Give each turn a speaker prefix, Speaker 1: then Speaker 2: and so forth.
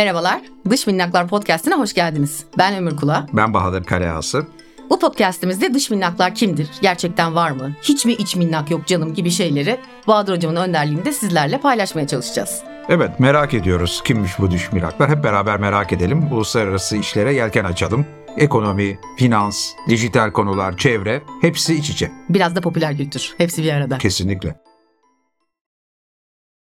Speaker 1: Merhabalar, Dış Minnaklar Podcast'ine hoş geldiniz. Ben Ömür Kula.
Speaker 2: Ben Bahadır Kaleası.
Speaker 1: Bu podcast'imizde dış minnaklar kimdir, gerçekten var mı, hiç mi iç minnak yok canım gibi şeyleri Bahadır Hocam'ın önderliğinde sizlerle paylaşmaya çalışacağız.
Speaker 2: Evet merak ediyoruz kimmiş bu düşmiraklar. Hep beraber merak edelim. Uluslararası işlere yelken açalım. Ekonomi, finans, dijital konular, çevre hepsi iç içe.
Speaker 1: Biraz da popüler kültür, hepsi bir arada.
Speaker 2: Kesinlikle.